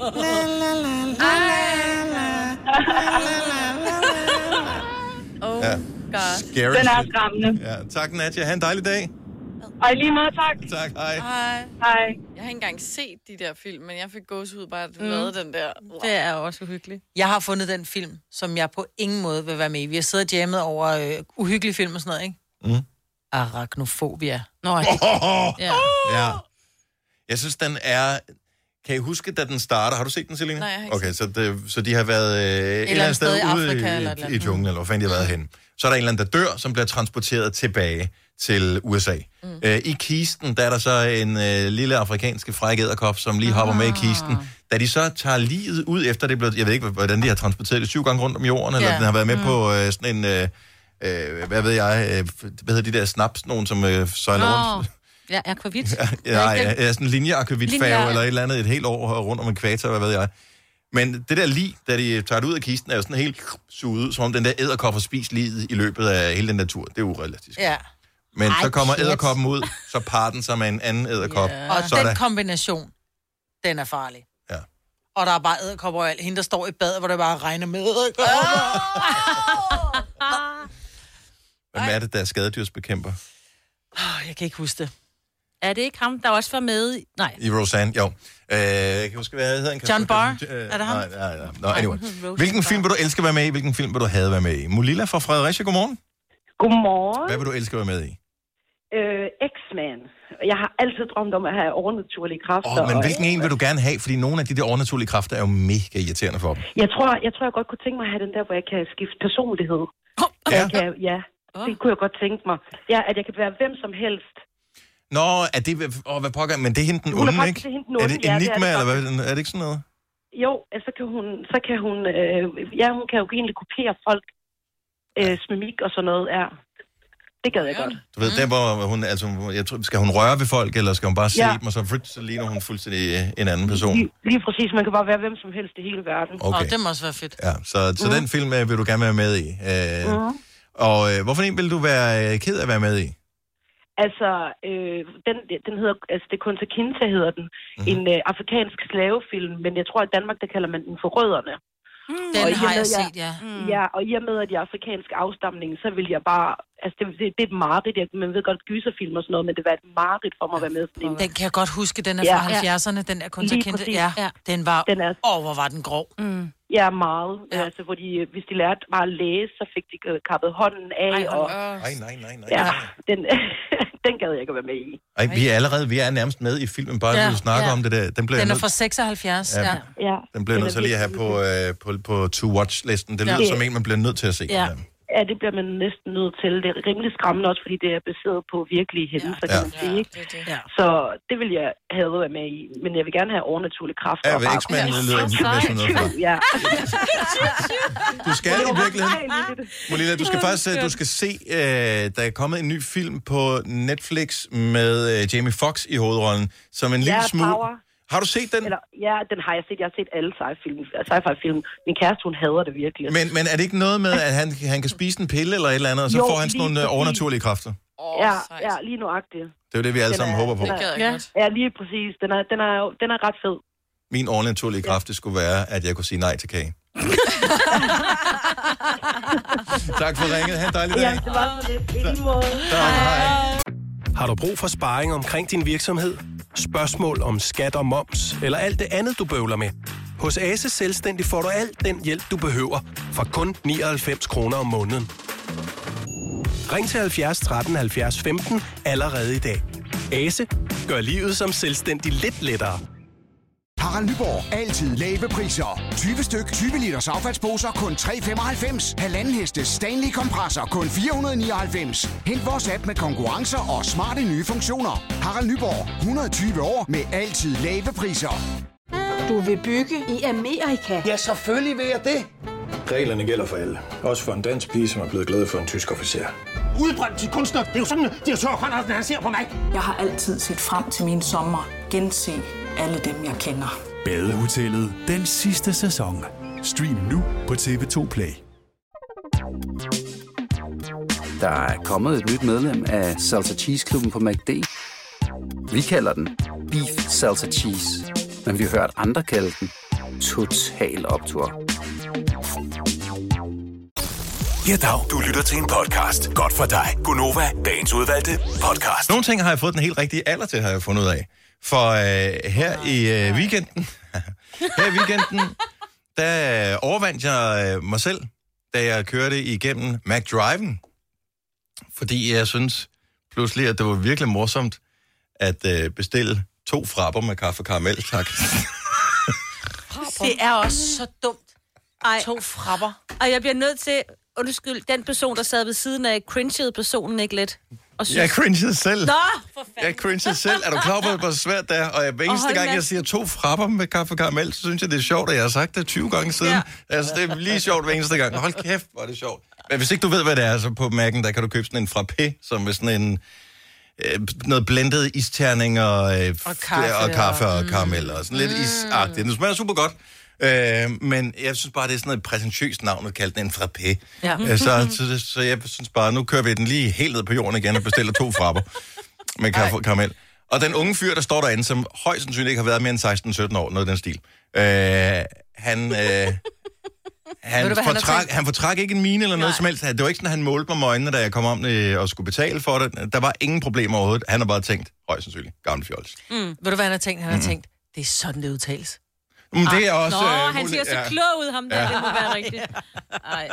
S4: Oh,
S1: Ja.
S4: God.
S1: Scary
S10: Den er
S1: shit.
S10: skræmmende.
S1: Ja, tak Nadja. Ha' en dejlig dag.
S10: Og i lige måde, tak.
S1: Tak, hej.
S10: Hej.
S2: Jeg har ikke engang set de der film, men jeg fik gåsehud bare, at mm. lavede den der.
S4: Det er også uhyggeligt.
S3: Jeg har fundet den film, som jeg på ingen måde vil være med i. Vi har siddet og jammet over øh, uhyggelige film og sådan noget, ikke?
S1: Mm.
S3: Arachnofobia. Nå, det,
S4: Ja.
S1: Ja. Jeg synes, den er... Kan I huske, da den starter? Har du set den, Selina?
S2: Nej, jeg har ikke
S1: Okay, så, det, så de har været øh, et eller andet
S3: andet
S1: sted,
S3: sted i
S1: ude
S3: Afrika eller et
S1: i,
S3: eller
S1: i, i
S3: andet.
S1: junglen, eller hvor fanden de har været henne. Så er der en eller anden, der dør, som bliver transporteret tilbage til USA. Mm. Øh, I kisten, der er der så en øh, lille afrikanske frække edderkop, som lige hopper med i kisten. Da de så tager livet ud efter det er blevet... Jeg ved ikke, hvordan de har transporteret det syv gange rundt om jorden, eller
S3: Ja.
S1: den har været med mm. på øh, sådan en... Øh, øh, hvad ved jeg? Øh, hvad hedder de der snaps, nogen som øh, sejler rundt?
S4: Nå. Ja, akvavit.
S1: Ja,
S4: ikke
S1: ja, ja, sådan en linjeakvavitfærge
S4: Linje-
S1: eller et eller andet et helt år rundt om ekvator, hvad ved jeg. Men det der lig, da de tager det ud af kisten, er jo sådan helt suget ud, som om den der æderkop har spist livet i løbet af hele den natur. Det er urealistisk.
S3: ja.
S1: Men
S4: Ej,
S1: så kommer
S4: pjat.
S1: æderkoppen ud, så parer den sig med en anden æderkop.
S4: Ja.
S3: Og
S1: Så er
S3: den
S1: der-
S3: kombination, den er farlig.
S1: Ah. Ja.
S3: Og der er bare æderkopper og alt. Hende, der står i bad, hvor det bare regner med æderkopper.
S10: Ah.
S1: Hvem er det, der er skadedyrsbekæmper?
S3: Oh, jeg kan ikke huske det.
S4: Er det ikke ham, der også var med? i- Nej.
S1: I Roseanne, jo. Øh, jeg kan huske, hvad hedder han? Kan-
S3: John Barr?
S1: Øh,
S3: Er det ham?
S1: Nej, nej, nej. Nå, anyway.
S4: Roseanne
S1: Hvilken film vil du elske at være med i? Hvilken film vil du have været med i? Mulilla fra Fredericia, godmorgen.
S10: Godmorgen.
S1: Hvad vil du elske at være med i?
S10: Øh, X-Man. Jeg har altid drømt om at have overnaturlige kræfter.
S1: Åh, oh, men
S10: og-
S1: hvilken en vil du gerne have? Fordi nogle af de der overnaturlige kræfter er jo mega irriterende for dem.
S10: Jeg tror, jeg tror, jeg godt kunne tænke mig at have den der, hvor jeg kan skifte personlighed.
S1: Ja.
S10: Kan jeg, ja, det kunne jeg godt tænke mig. Ja, at jeg kan være hvem som helst.
S1: Nå, er det... Åh, hvad pokker... Men det er hende den
S10: Hun er
S1: onde,
S10: faktisk-
S1: ikke?
S10: det er hende den onde,
S1: er det
S10: ja, det er det
S1: Enigma, eller hvad? Er det ikke sådan noget?
S10: Jo, altså kan hun, så kan hun, øh, ja, hun kan jo egentlig kopiere folk. Øh, smimik og sådan noget, ja. Det gad jeg godt.
S1: Du ved, mm. der hvor hun... Altså, jeg tror, skal hun røre ved folk, eller skal hun bare se
S10: Ja.
S1: dem, og så, flyt, så ligner hun fuldstændig øh, en anden person?
S10: Lige, lige præcis, man kan bare være hvem som helst i hele verden.
S3: Okay.
S1: Okay.
S3: Og det må også være fedt.
S1: Ja, så, så den film øh, vil du gerne være med i. Øh,
S10: Mm.
S1: Og øh, hvorfor en vil du være øh, ked af at være med i?
S10: Altså, øh, den, den hedder, altså det er kun til Kinta hedder den.
S1: Mhm.
S10: Mm-hmm. En øh, afrikansk slavefilm, men jeg tror, at i Danmark, der kalder man den for rødderne. Og i
S3: Den
S10: og
S3: har
S10: med,
S3: jeg
S10: jeg-
S3: set, ja.
S10: Mm. Ja, og i og med, at jeg er afrikansk afstamning, så vil jeg bare, altså det, det, det er et mareridt, jeg, man ved godt gyserfilm og sådan noget, men det var et mareridt for mig at være med i sådan en.
S3: Den kan jeg godt huske, den er
S10: Ja.
S3: fra 70'erne, den er kun
S10: Lige
S3: til kendte.
S10: præcis.
S3: Ja,
S4: Ja.
S3: den var...
S10: Den er,
S3: Åh, hvor var den grov.
S4: Mm.
S10: ja, meget.
S3: Ja.
S10: Ja. Altså, hvor de, øh, hvis de lærte bare at læse, så fik de øh, kappet hånden af, Ej, og
S1: Ej, nej, nej, nej.
S10: ja,
S1: nej.
S10: den, den gad jeg ikke at være med i.
S1: Ej, vi er allerede... Vi er nærmest med i filmen, bare ja,
S3: Ja,
S1: du snakker ja.
S4: ja.
S1: om det der. Den bliver jeg
S3: Den er
S1: nødt-
S3: fra 76, ja.
S1: Ja.
S3: ja.
S10: Ja,
S1: Den bliver jeg nødt til lige at have på, øh, på, på to-watch-listen. Det lyder ja.
S10: Ja.
S1: som en, man bliver nødt til at se.
S4: Ja.
S10: Ja, det bliver man næsten nødt til. Det er rimelig skræmmende også, fordi det er baseret på virkelige hændelser, ja. kan
S1: Ja.
S10: man
S2: Ja,
S10: sige. Ikke?
S2: det er det.
S3: Ja.
S10: Så det vil jeg have været med i, men jeg vil gerne have overnaturlige kræfter.
S1: Ja,
S10: og
S1: ved
S10: bare-
S1: X-Men
S4: Ja,
S1: lyder
S4: så
S1: det sådan
S4: sejt.
S1: noget fra.
S10: Ja.
S1: Du skal i virkeligheden,
S10: virkelig.
S1: Molina, du skal faktisk, øh, du skal se, øh, der er kommet en ny film på Netflix med øh, Jamie Foxx i hovedrollen, som en lille
S10: Ja,
S1: smule...
S10: Power.
S1: Har du set den?
S10: Eller, ja, den har jeg set. Jeg har set alle sci-fi-film. Sci-fi-film. Min kæreste, hun hader det virkelig.
S1: Men, men er det ikke noget med, at han, han kan spise en pille eller et eller andet, og så
S10: Jo,
S1: får han sådan
S10: lige
S1: nogle øh,
S10: præcis.
S1: overnaturlige kræfter?
S2: Åh,
S10: ja,
S2: sejt.
S10: ja, lige nuagtigt.
S1: Det er jo det, vi alle
S10: Den
S1: sammen
S10: er-
S1: håber på.
S2: Det gad jeg
S4: Ja.
S2: godt.
S10: Ja, lige præcis. Den er, den er, jo- den er ret fed.
S1: Min overnaturlige kraft, det skulle være, at jeg kunne sige nej til kage. tak for ringet. Ha' en dejlig dag.
S10: Ja, det var så lidt. I lige måde.
S1: Tak. Hej.
S11: Har du brug for sparring omkring din virksomhed? Spørgsmål om skat og moms, eller alt det andet, du bøvler med? Hos Ase Selvstændig får du alt den hjælp, du behøver, for kun 99 kroner om måneden. Ring til 70 13 70 15 allerede i dag. Ase gør livet som selvstændig lidt lettere.
S12: Harald Nyborg. Altid lave priser. 20 styk, 20 liters affaldsposer kun 3,95. Halvanden heste Stanley kompresser, kun 499. Hent vores app med konkurrencer og smarte nye funktioner. Harald Nyborg. 120 år med altid lave priser.
S13: Du vil bygge i Amerika?
S12: Ja, selvfølgelig vil jeg det.
S13: Reglerne gælder for alle. Også for en dansk pige, som er blevet glad for en tysk officer.
S14: Udbrændt til kunstner. Det er jo sådan, at de har Conradsen, han ser på mig. Jeg har altid set frem til min sommer. Gense alle dem, jeg kender.
S15: Badehotellet den sidste sæson. Stream nu på TV2 Play.
S16: Der er kommet et nyt medlem af Salsa Cheese Klubben på MACD. Vi kalder den Beef Salsa Cheese, men vi har hørt andre kalde den Total Optor.
S7: Ja, dag. Du lytter til en podcast. Godt for dig. Gunova, dagens udvalgte podcast.
S1: Nogle ting har jeg fået den helt rigtige alder til, har jeg fundet ud af. For øh, her i øh, weekenden, her i weekenden, der øh, overvandt jeg øh, mig selv, da jeg kørte igennem McDriven. Fordi jeg synes pludselig, at det var virkelig morsomt at øh, bestille to frapper med kaffe og karamel, tak.
S3: Det er også så dumt.
S4: Ej.
S3: To frapper.
S4: Og jeg bliver nødt til, undskyld, den person, der sad ved siden af, cringede personen ikke lidt? Og
S1: Jeg cringede selv.
S4: Nå,
S1: for jeg cringede selv. Er du klar på, hvor svært det er? Og jeg, hver eneste
S4: holde
S1: gang,
S4: med.
S1: jeg siger to frapper med kaffe og karamel, så synes jeg, det er sjovt, at jeg har sagt det 20 gange siden. Ja. Altså, det er lige sjovt hver eneste gang. Hold kæft, hvor er det sjovt. Men hvis ikke du ved, hvad det er, så på Mac'en, der kan du købe sådan en frappé, som er sådan en... Øh, noget blendet isterning og, øh,
S17: Og kaffe
S1: og, kaffe og
S17: og-
S1: karamel og sådan lidt mm. isagtigt. Den smager super godt. Øh, men jeg synes bare, det er sådan et præsentøst navn at kalde den en frappé.
S17: Ja.
S1: Øh, så, så, så jeg synes bare, nu kører vi den lige helt ned på jorden igen og bestiller to frapper med kaffe og karamel. Og den unge fyr, der står derinde, som højst sandsynligt ikke har været mere end 16-17 år, noget i den stil, øh, han, øh,
S17: Ved
S1: han,
S17: du, hvad han har
S1: fortrak,
S17: tænkt?
S1: han fortrak ikke en mine eller noget som helst. Det var ikke sådan, at han målte mig med øjnene, da jeg kom om øh, og skulle betale for det. Der var ingen problemer overhovedet. Han har bare tænkt, højst sandsynligt, gammel fjols.
S3: Mm. Ved du, hvad han har tænkt? Han har
S1: Mm.
S3: tænkt, det er sådan, det udtales.
S1: Men det er
S3: Ah,
S1: også,
S4: Nå,
S1: øh,
S4: han
S1: muligt-
S4: ser så
S1: ja.
S4: klog ud, ham der.
S1: Ja.
S4: Ja. Det må være rigtigt. Ej.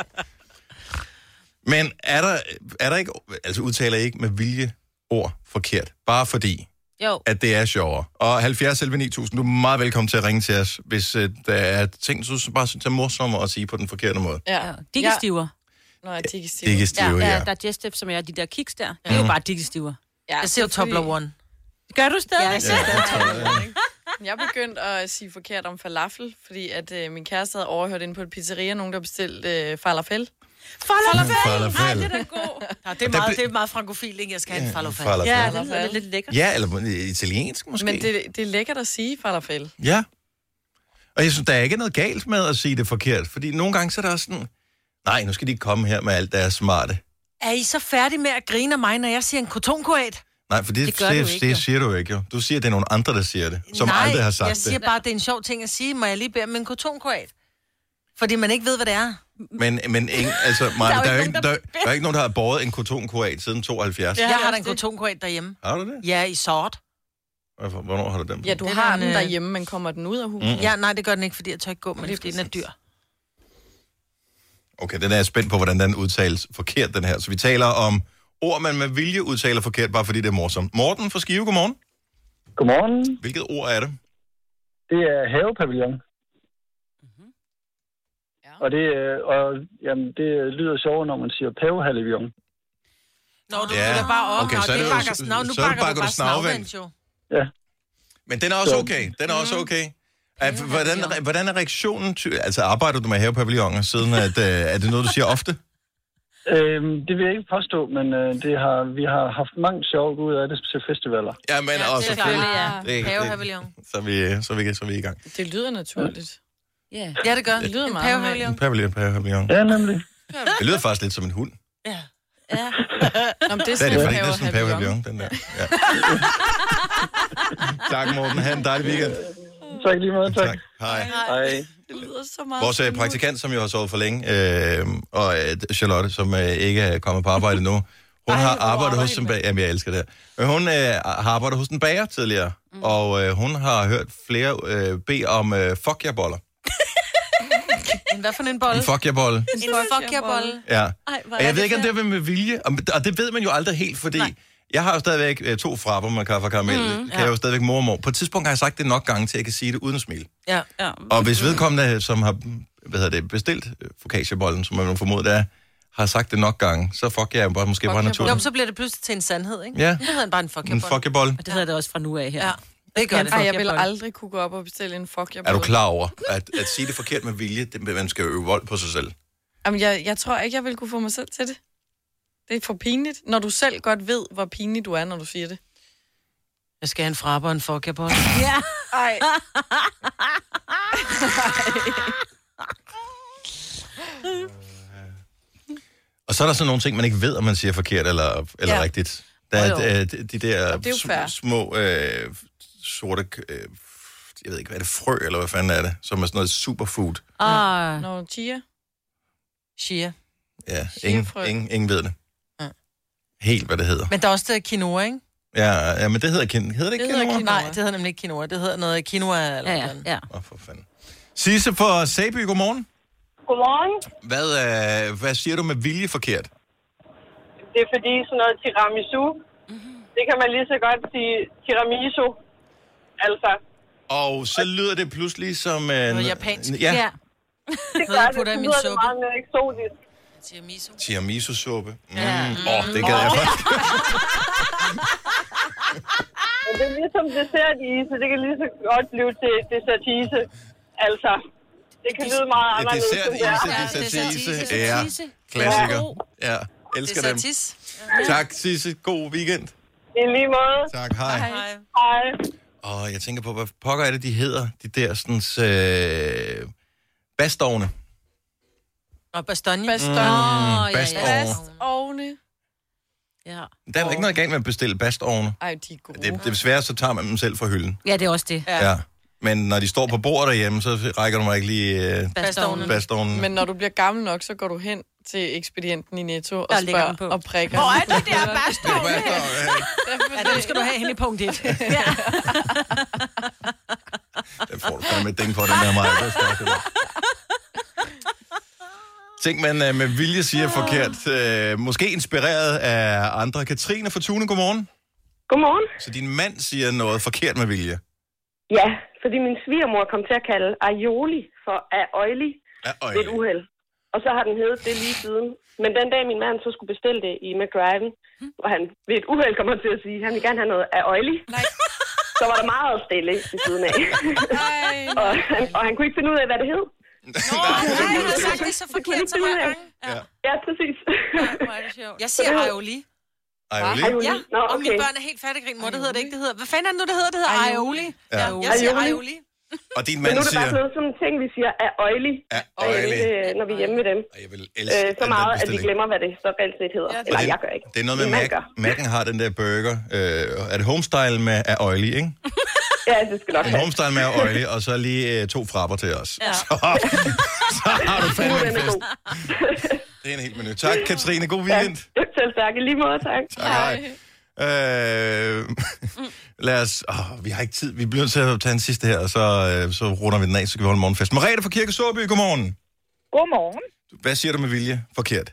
S1: Men er der, er der ikke, altså udtaler I ikke med vilje ord forkert, bare fordi,
S4: Jo.
S1: at det er sjovere. Og 70 11 9000, du er meget velkommen til at ringe til os, hvis øh, der er ting, du bare synes er morsommere at sige på den forkerte måde.
S2: Ja.
S4: Diggestiver.
S2: Nå, ja, diggestiver.
S1: Diggestiver, ja.
S4: ja. Digestive, som er de der kiks der. Det er jo
S1: Mm.
S4: bare diggestiver.
S2: Ja,
S3: Jeg ser jo
S2: selvfølgelig.
S3: Toblerone.
S4: Gør du stadig?
S2: Ja, jeg ser
S1: stadig
S2: Toblerone. Jeg begyndte at sige forkert om falafel, fordi at øh, min kæreste havde overhørt inde på et pizzeria, nogen der bestilte øh, falafel.
S3: Falafel!
S1: Falafel.
S3: Ej, det er da god. Nå, det, er
S1: Der
S3: meget,
S1: blev-
S3: det er meget frankofil, ikke? Jeg skal have en falafel.
S1: falafel. Ja, det
S2: lyder
S3: lidt lækkert.
S1: Ja, eller øh, italiensk måske.
S2: Men det, det er lækkert at sige falafel.
S1: Ja. Og jeg synes, der er ikke noget galt med at sige det forkert, fordi nogle gange så er der også sådan, nej, nu skal de ikke komme her med alt, der er smarte.
S3: Er I så færdige med at grine af mig, når jeg siger en kotonkoat?
S1: Nej, for det,
S3: Det
S1: det,
S3: gør
S1: det,
S3: du
S1: ikke,
S3: ikke,
S1: det
S3: jo.
S1: siger du ikke jo. Du siger, at det er nogle andre, der siger det, som
S3: Nej,
S1: aldrig har sagt
S3: jeg siger
S1: det.
S3: bare, at det er en sjov ting at sige. Må jeg lige bede om en kotonkoat? Fordi man ikke ved, hvad det er.
S1: Men, men ingen, altså, Maja, der, er jo ikke, der,
S3: der-
S1: der er ikke nogen, der har båret en kotonkorat siden 72.
S3: Jeg har da en kotonkoat derhjemme.
S1: Har du det?
S3: Ja, i sort.
S1: Hvorfor- Hvornår har du den på?
S2: Ja, du
S3: Det er
S2: har
S3: den,
S2: den
S3: øh,
S2: derhjemme, men kommer den ud af huset?
S1: Mm.
S3: Ja, nej, det gør den ikke, fordi jeg tør ikke gå med det, fordi den er dyr.
S1: Okay, den er jeg spændt på, hvordan den udtales forkert, den her. Så vi taler om ord, man med vilje udtaler forkert, bare fordi det er morsomt. Morten fra Skive, godmorgen.
S18: Godmorgen.
S1: Hvilket ord er det?
S18: Det er havepavillon. Og det, øh, og, jamen, det lyder sjovt, når man siger pavehallevion.
S3: Nå, du ja. føler bare op. Okay, så er det,
S1: jo-
S3: bakker, snav, nu
S1: så
S3: bakker,
S1: bakker
S3: du
S1: du
S3: bare
S1: snavvendt.
S3: snavvendt, jo.
S1: Men den er også okay. Den er også okay. Er, hvordan, hvordan er reaktionen? Ty- altså, arbejder du med havepavilloner siden, at, øh, er det noget, du siger ofte?
S18: Øhm, det vil jeg ikke påstå, men øh, det har, vi har haft mange sjovt ud af det til festivaler.
S1: Ja, men ja, også
S3: selvfølgelig, ja.
S1: Det, det,
S3: Havepavillon.
S1: så, er vi, så, er vi, så er vi i gang.
S2: Det lyder naturligt.
S3: Ja, ja det gør. Det lyder meget. Havepavillon.
S1: En pavillon, pavillon.
S18: Ja, nemlig.
S1: Det lyder faktisk lidt som en hund.
S3: Ja.
S2: Nå, men det
S1: Det
S2: er
S1: er det, er
S2: sådan, det,
S1: fordi det er sådan en pavillon, den der. Ja. tak, Morten. Ha' en dejlig weekend.
S18: Tak lige meget, tak. tak.
S1: Hej.
S18: Hej.
S2: Det lyder så meget.
S1: Vores øh, praktikant, som jo har sovet for længe, øh, og øh, Charlotte, som øh, ikke er kommet på arbejde endnu, hun har arbejdet hos en bager. Jamen, jeg elsker det her. Men Hun øh, har arbejdet hos en bager tidligere, mm. og øh, hun har hørt flere øh, bede om øh, fuck jer boller.
S3: En hvad for en bolle?
S1: En fuck jer bolle.
S3: En fuck jer bolle.
S1: Ja.
S3: Ej, hvor
S1: og
S3: er
S1: jeg ved
S3: det
S1: ikke, om det er med vilje, og, og det ved man jo aldrig helt, fordi Nej. jeg har jo stadigvæk øh, to frapper med kaffe og karamel.
S3: Mhm.
S1: Mm, kan
S3: Ja.
S1: jeg jo stadigvæk mormor. På et tidspunkt har jeg sagt det nok gange til, at jeg kan sige det uden at smile.
S3: Ja. ja.
S1: Og
S3: Mm.
S1: hvis vedkommende, øh, som har hvad hedder det, bestilt øh, focaccia-bollen, som man jo formoder det er, har sagt det nok gange, så fuck jeg jo bare, måske bare
S3: Jo, men
S1: naturligt.
S3: så bliver det pludselig til en sandhed, ikke?
S1: Ja.
S3: Det hedder han bare en fuck jer
S1: En
S3: bolle.
S1: fuck bolle.
S4: Og det hedder det også fra nu af her.
S3: Ja. Det gør det.
S2: Ej, jeg vil aldrig kunne gå op og bestille en fuck
S1: Er du klar over, at, at sige det forkert med vilje, det, man skal øve vold på sig selv?
S2: Jamen, jeg, jeg tror ikke, jeg vil kunne få mig selv til det. Det er for pinligt, når du selv godt ved, hvor pinlig du er, når du siger det.
S3: Jeg skal have en frapper og en fuck på.
S2: Ja. Ej.
S1: Og så er der sådan nogle ting, man ikke ved, om man siger forkert eller, eller
S2: Ja.
S1: ja. rigtigt. Der er
S2: Jo, jo.
S1: øh, de, de der
S2: Og det er jo
S1: sm-
S2: fair.
S1: små øh, sorte, øh, jeg ved ikke, hvad er det, frø, eller hvad fanden er det, som er sådan noget superfood.
S2: Ah. Når chia.
S3: Chia.
S1: Ja, ingen,
S3: Chiafrø.
S1: ingen, ingen ved det.
S3: Ja.
S1: Helt, hvad det hedder.
S3: Men der er også det der quinoa, ikke?
S1: Ja, ja men det hedder, kin- hedder det ikke quinoa?
S3: Nej, det hedder nemlig ikke quinoa. Det hedder noget øh, quinoa eller ja, ja.
S4: ja.
S1: Åh, for fanden. Sisse fra Sæby, godmorgen.
S17: Godmorgen.
S1: Hvad, øh, hvad siger du med vilje forkert?
S17: Det er fordi sådan noget tiramisu, det kan man lige så godt sige tiramisu. Altså,
S1: Og så lyder det pludselig som... Øh,
S17: Noget japansk.
S1: Ja,
S17: Ja.
S1: ja.
S17: det
S3: Noget,
S17: gør
S3: jeg
S17: det.
S3: putter i
S17: Det
S3: min
S17: lyder det
S3: suppe.
S17: meget mere eksotisk.
S3: Tiramisu.
S1: tiramisu-suppe. Åh, mm. ja. oh, det gad jeg
S17: Åh.
S1: godt.
S17: Men det er ligesom dessertise, det kan lige så godt blive til dessertise. Altså, det kan lyde meget
S1: Ja,
S17: anderledes.
S1: dessert,
S17: end det er.
S1: ise, dessert, ise. Ja, klassiker. Ja, elsker dem.
S17: Dessertis.
S1: Tak, Sisse. God weekend.
S17: I lige måde.
S1: Tak, hej. Hej.
S17: Hej.
S1: Og jeg tænker på, hvad pokker er det, de hedder? De der sådan... Øh, bastovne.
S3: Og bastogne.
S1: Bastogne. Mm, bastovne.
S2: Bastovne.
S4: Ja.
S1: Der er oh. ikke noget galt med at bestille bastovne.
S2: Ej, de er gode.
S1: Det, det er svært, så tager man dem selv fra hylden.
S4: Ja, det er også det.
S1: Ja. ja. Men når de står på bordet derhjemme, så rækker du mig ikke lige øh,
S2: Bastovnen.
S1: bastovnen.
S2: Men når du bliver gammel nok, så går du hen til ekspedienten i Netto og
S4: Der ligger
S2: spørger
S4: den på.
S2: og prikker.
S4: Hvor er
S2: det der
S4: bastovn? Ja, det skal du have hende i punkt 1. ja.
S1: Den får du fandme et ding for, den der meget. Det er stærkt, det der. Ting, man øh, med vilje siger forkert. Øh, måske inspireret af andre. Katrine fra Tune, godmorgen.
S17: Godmorgen.
S1: Så din mand siger noget forkert med vilje.
S17: Ja, fordi min svigermor kom til at kalde aioli for aioli
S1: Aioli.
S17: ved et uheld. Og så har den heddet det lige siden. Men den dag, min mand så skulle bestille det i McDriven, hvor han ved et uheld kommer til at sige, at han vil gerne have noget aioli. Nej. Så var der meget stille ved siden af. og, han, og han kunne ikke finde ud af, hvad det hed. Nå,
S3: nej, hun har sagt det så forkert så mange gange.
S1: Ja.
S17: ja, præcis.
S3: Jeg siger aioli.
S1: Aioli.
S3: Ja,
S17: Nå,
S3: og mine
S17: okay.
S3: børn er helt fattegrine. Mor, det hedder det ikke. Det hedder, hvad fanden er det nu, det hedder? Det hedder aioli.
S1: Ja.
S3: Ja. Jeg siger
S17: Aioli.
S3: aioli.
S1: Og din
S17: Men nu
S1: mand
S17: er det bare sådan
S1: siger,
S17: noget, sådan en ting, vi siger, er øjelig,
S1: aioli.
S17: øh, når vi er hjemme ved dem.
S1: Jeg vil
S17: øh, så
S1: den
S17: meget, at vi
S1: bestilling.
S17: glemmer, hvad det så reelt set hedder.
S1: Og
S17: Eller jeg gør ikke.
S1: det er noget med,
S17: Min mand gør.
S1: Mac, Mac'en har den der burger. Øh, er det homestyle med er oily, ikke?
S17: Ja, det skal nok
S1: En
S17: være.
S1: homestyle med er oily, og så lige øh, to frapper til os.
S17: Ja.
S1: Så, så har du
S17: Nu
S1: fandme
S17: er den
S1: en fest.
S17: god.
S1: Det er en helt menu. Tak, Katrine. God weekend.
S17: Ja, selv tak. I lige måde, tak.
S1: Tak, hej. Øh, lad os... Åh, vi har ikke tid. Vi bliver nødt til at tage en sidste her, og så, øh, så runder vi den af, så kan vi holde morgenfest. Merete fra Kirke Sorby, godmorgen.
S9: Godmorgen.
S1: Hvad siger du med vilje? Forkert.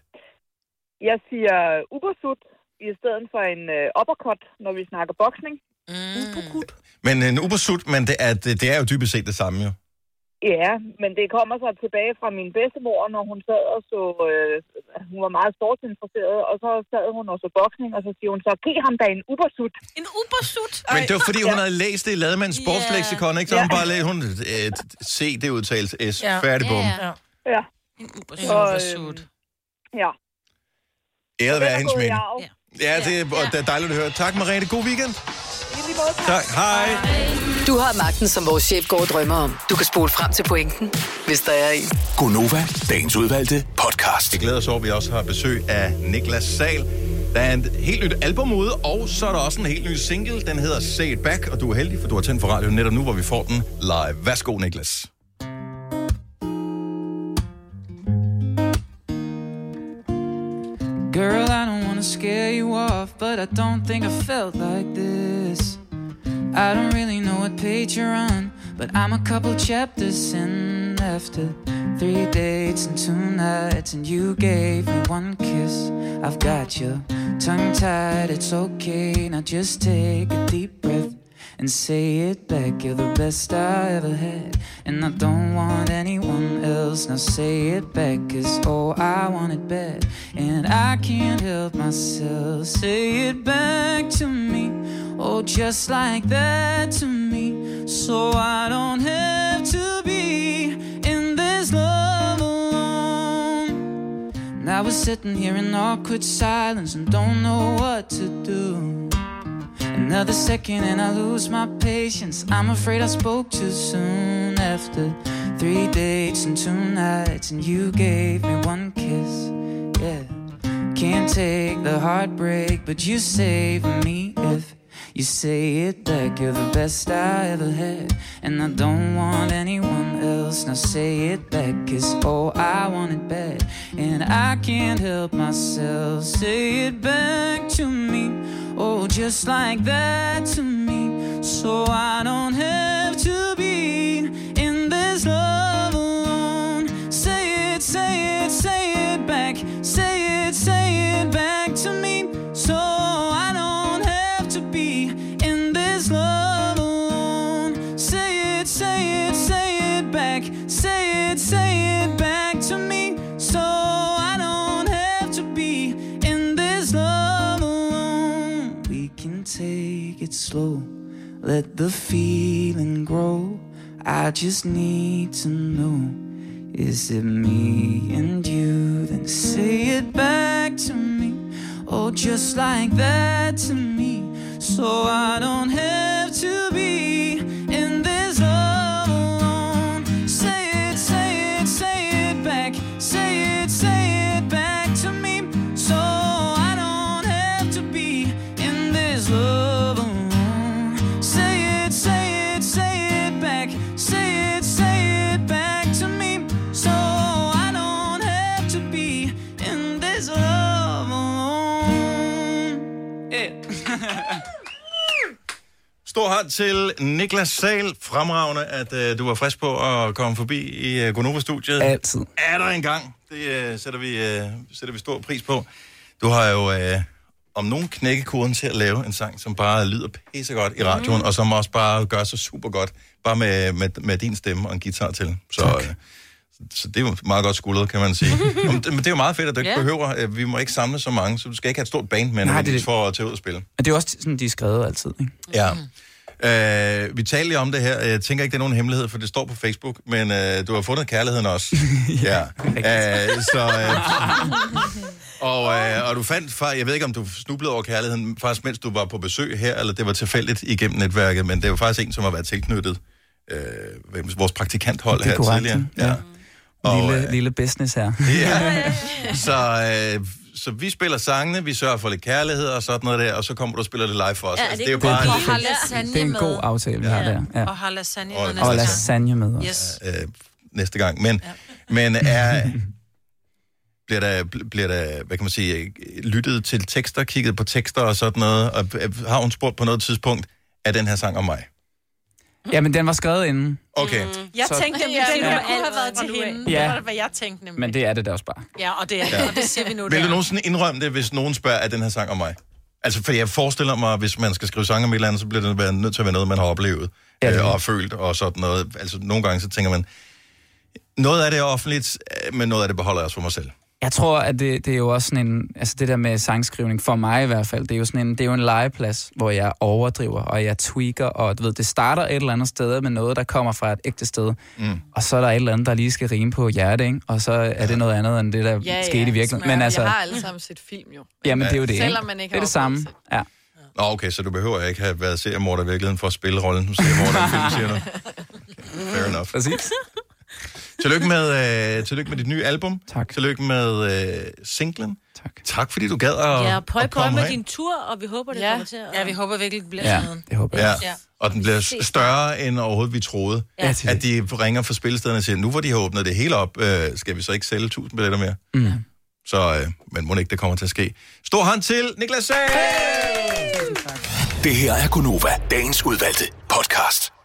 S9: Jeg siger ubersut i stedet for en øh, uppercut, når vi snakker boksning. Mm.
S1: Men en ubersut, men det er, det, det er jo dybest set det samme, jo.
S9: Ja, men det kommer så tilbage fra min bedstemor, når hun sad og så... Øh, hun var meget sportsinteresseret, og så sad hun og så boksning, og så siger hun så, giv ham da en ubersut. En ubersut?
S1: Men det var, fordi hun havde læst det i Lademands sportsleksikon, ikke? Så hun
S9: Ja.
S1: bare lagde, hun, øh, se, det udtales S,
S9: Ja.
S1: færdig bum.
S9: Ja. ja. En
S3: ubersut. Ubersut.
S9: Ja.
S1: Æret være hendes mening.
S9: Ja.
S1: Ja, det er, og det er dejligt at høre. Tak, Merete. God weekend. Tak. Hej.
S6: Du har magten, som vores chef går og drømmer om. Du kan spole frem til pointen, hvis der er en.
S7: Gonova, dagens udvalgte podcast.
S1: Vi glæder os over, at vi også har besøg af Niklas Sal. Der er et helt nyt album ude, og så er der også en helt ny single. Den hedder Say It Back, og du er heldig, for du har tændt for radioen netop nu, hvor vi får den live. Værsgo, Niklas.
S19: Girl, I don't wanna scare you off, but I don't think I felt like this. I don't really know what page you're on, but I'm a couple chapters in after three dates and two nights, and you gave me one kiss. I've got your tongue tied, it's okay. Now just take a deep breath and say it back. You're the best I ever had, and I don't want anyone else. Now say it back, cause oh, I want it bad, and I can't help myself. Say it back to me, oh, just like that to me. so I don't have to be in this love alone. Now we're sitting here in awkward silence and don't know what to do. Another second and I lose my patience. I'm afraid I spoke too soon after three dates and two nights, and you gave me one kiss. Yeah, can't take the heartbreak, but you save me if you say it back. You're the best I ever had, and I don't want anyone else. Now say it back, cause oh, I want it back, and I can't help myself. Say it back to me, oh, just like that to me, so I don't have to be in this love alone. Say it, say it, say it back, say it, say it back to me, so I don't have to be in this love alone. Say it, say it, say it back, say it, say it back to me, so I don't have to be in this love alone. We can take it slow, let the feeling grow. I just need to know. Is it me and you? Then say it back to me. Oh, just like that to me. So I don't have to be in this love alone. Say it, say it, say it back. Say it, say it back to me. So I don't have to be in this love alone. Say it, say it, say it back. Say it, say it back to me. So I don't have to be in this love alone. Yeah.
S1: Stor hånd til Niklas Sal. Fremragende, at øh, du var frisk på at komme forbi i øh, Gonova-studiet.
S16: Altid.
S1: Er der en gang. Det øh, sætter, vi, øh, sætter vi stor pris på. Du har jo øh, om nogen knækkekoden til at lave en sang, som bare lyder pissegodt i radioen, mm. og som også bare gør sig super godt, bare med, med, med din stemme og en guitar til. Så, øh, så det er jo meget godt skuldret, kan man sige. Nå, Men det, men det er jo meget fedt, at du ikke
S20: Ja.
S1: behøver... Øh, vi må ikke samle så mange, så du skal ikke have et stort band med,
S20: Nej,
S1: Nej,
S20: det er
S1: det...
S20: det.
S1: for at tage ud og spille.
S20: Men det er jo også sådan, de er skrevet altid, ikke?
S1: Ja. Øh, vi talte lige om det her. Jeg tænker ikke, det er nogen hemmelighed, for det står på Facebook, men øh, du har fundet kærligheden også. ja. Øh, så, øh, og, øh, og du fandt, far, jeg ved ikke, om du snublede over kærligheden, faktisk mens du var på besøg her, eller det var tilfældigt igennem netværket, men det var faktisk en, som har været tilknyttet øh, hvem- vores praktikanthold
S20: Det er
S1: her
S20: korrekt,
S1: tidligere. Ja. Og, øh,
S20: Lille, lille business her.
S1: Ja. Så, øh, så vi spiller sangene, vi sørger for lidt kærlighed og sådan noget der, og så kommer du og spiller det live for os.
S3: Ja, er det ikke
S1: jo
S3: godt?
S1: en-
S3: Og har lasagne
S20: Det er en
S3: med.
S20: god aftale, vi har der. Ja.
S3: Og altså- har lasagne
S1: Og-
S3: med
S1: og
S3: næste gang.
S20: lasagne med også.
S3: Yes.
S1: øh, næste gang. Men, ja. men er, bliver, der, bl- bliver der, hvad kan man sige, øh, lyttet til tekster, kigget på tekster og sådan noget, og øh, har hun spurgt på noget tidspunkt, er den her sang om mig?
S20: Ja, men den var skrevet inden.
S1: Okay. Mm.
S3: Jeg
S20: Så-
S3: tænkte nemlig,
S4: Ja,
S3: at den
S4: det
S3: her
S4: var
S3: kunne have
S4: alt
S3: været
S4: fra
S3: til
S4: nu af.
S3: hende.
S20: Ja.
S3: Det var det, hvad jeg tænkte nemlig.
S20: Men det er det da også bare.
S3: Ja, og det er
S1: Ja.
S3: ja. og det siger vi nu.
S1: Vil
S3: det
S1: du
S3: er.
S1: nogensinde indrømme det, hvis nogen spørger, er den her sang om mig? Altså, fordi jeg forestiller mig, at hvis man skal skrive sange om et eller andet, så bliver det være- nødt til at være noget, man har oplevet ja, øh, og følt og sådan noget. Altså, nogle gange så tænker man, noget af det er offentligt, øh, men noget af det beholder jeg også for mig selv.
S20: Jeg tror, at det, det er jo også sådan en... Altså det der med sangskrivning, for mig i hvert fald, det er jo sådan en, det er jo en legeplads, hvor jeg overdriver, og jeg tweaker, og du ved, det starter et eller andet sted med noget, der kommer fra et ægte sted.
S1: Mm.
S20: Og så er der et eller andet, der lige skal rime på hjertet, ikke? Og så er det noget andet, end det, der ja, skete i virkeligheden.
S2: Men
S20: Men
S2: altså... Vi har
S20: altså,
S2: alle sammen set film jo.
S20: jamen det er jo det,
S2: Selvom
S20: ikke?
S2: man ikke
S20: det er
S2: har
S20: det samme. Ja.
S1: Nå, okay, så du behøver ikke have været seriemorder i virkeligheden for at spille rollen som seriemorder i film, siger du. Okay, fair enough.
S20: Præcis.
S1: Tillykke med, øh, tillykke med dit nye album. Tak. Tillykke med øh, singlen. Tak. Tak, fordi du gad at,
S4: Ja, pøj
S1: at
S4: pøj
S1: komme
S4: med din
S1: herind.
S4: tur, og vi håber, det
S3: Ja.
S4: kommer til at... Ja, vi
S3: håber virkelig, det bliver
S1: Ja, sådan.
S20: det håber
S1: Ja.
S4: Ja.
S1: Og den bliver s- større, end overhovedet vi troede.
S4: Ja.
S1: At de ringer fra spillestederne og siger, nu hvor de har åbnet det hele op, øh, skal vi så ikke sælge 1000 billetter mere?
S20: Mm.
S1: Så, øh, men må ikke, det kommer til at ske. Stor hånd til Niklas Sager!
S7: Det her er Gunova, dagens udvalgte podcast.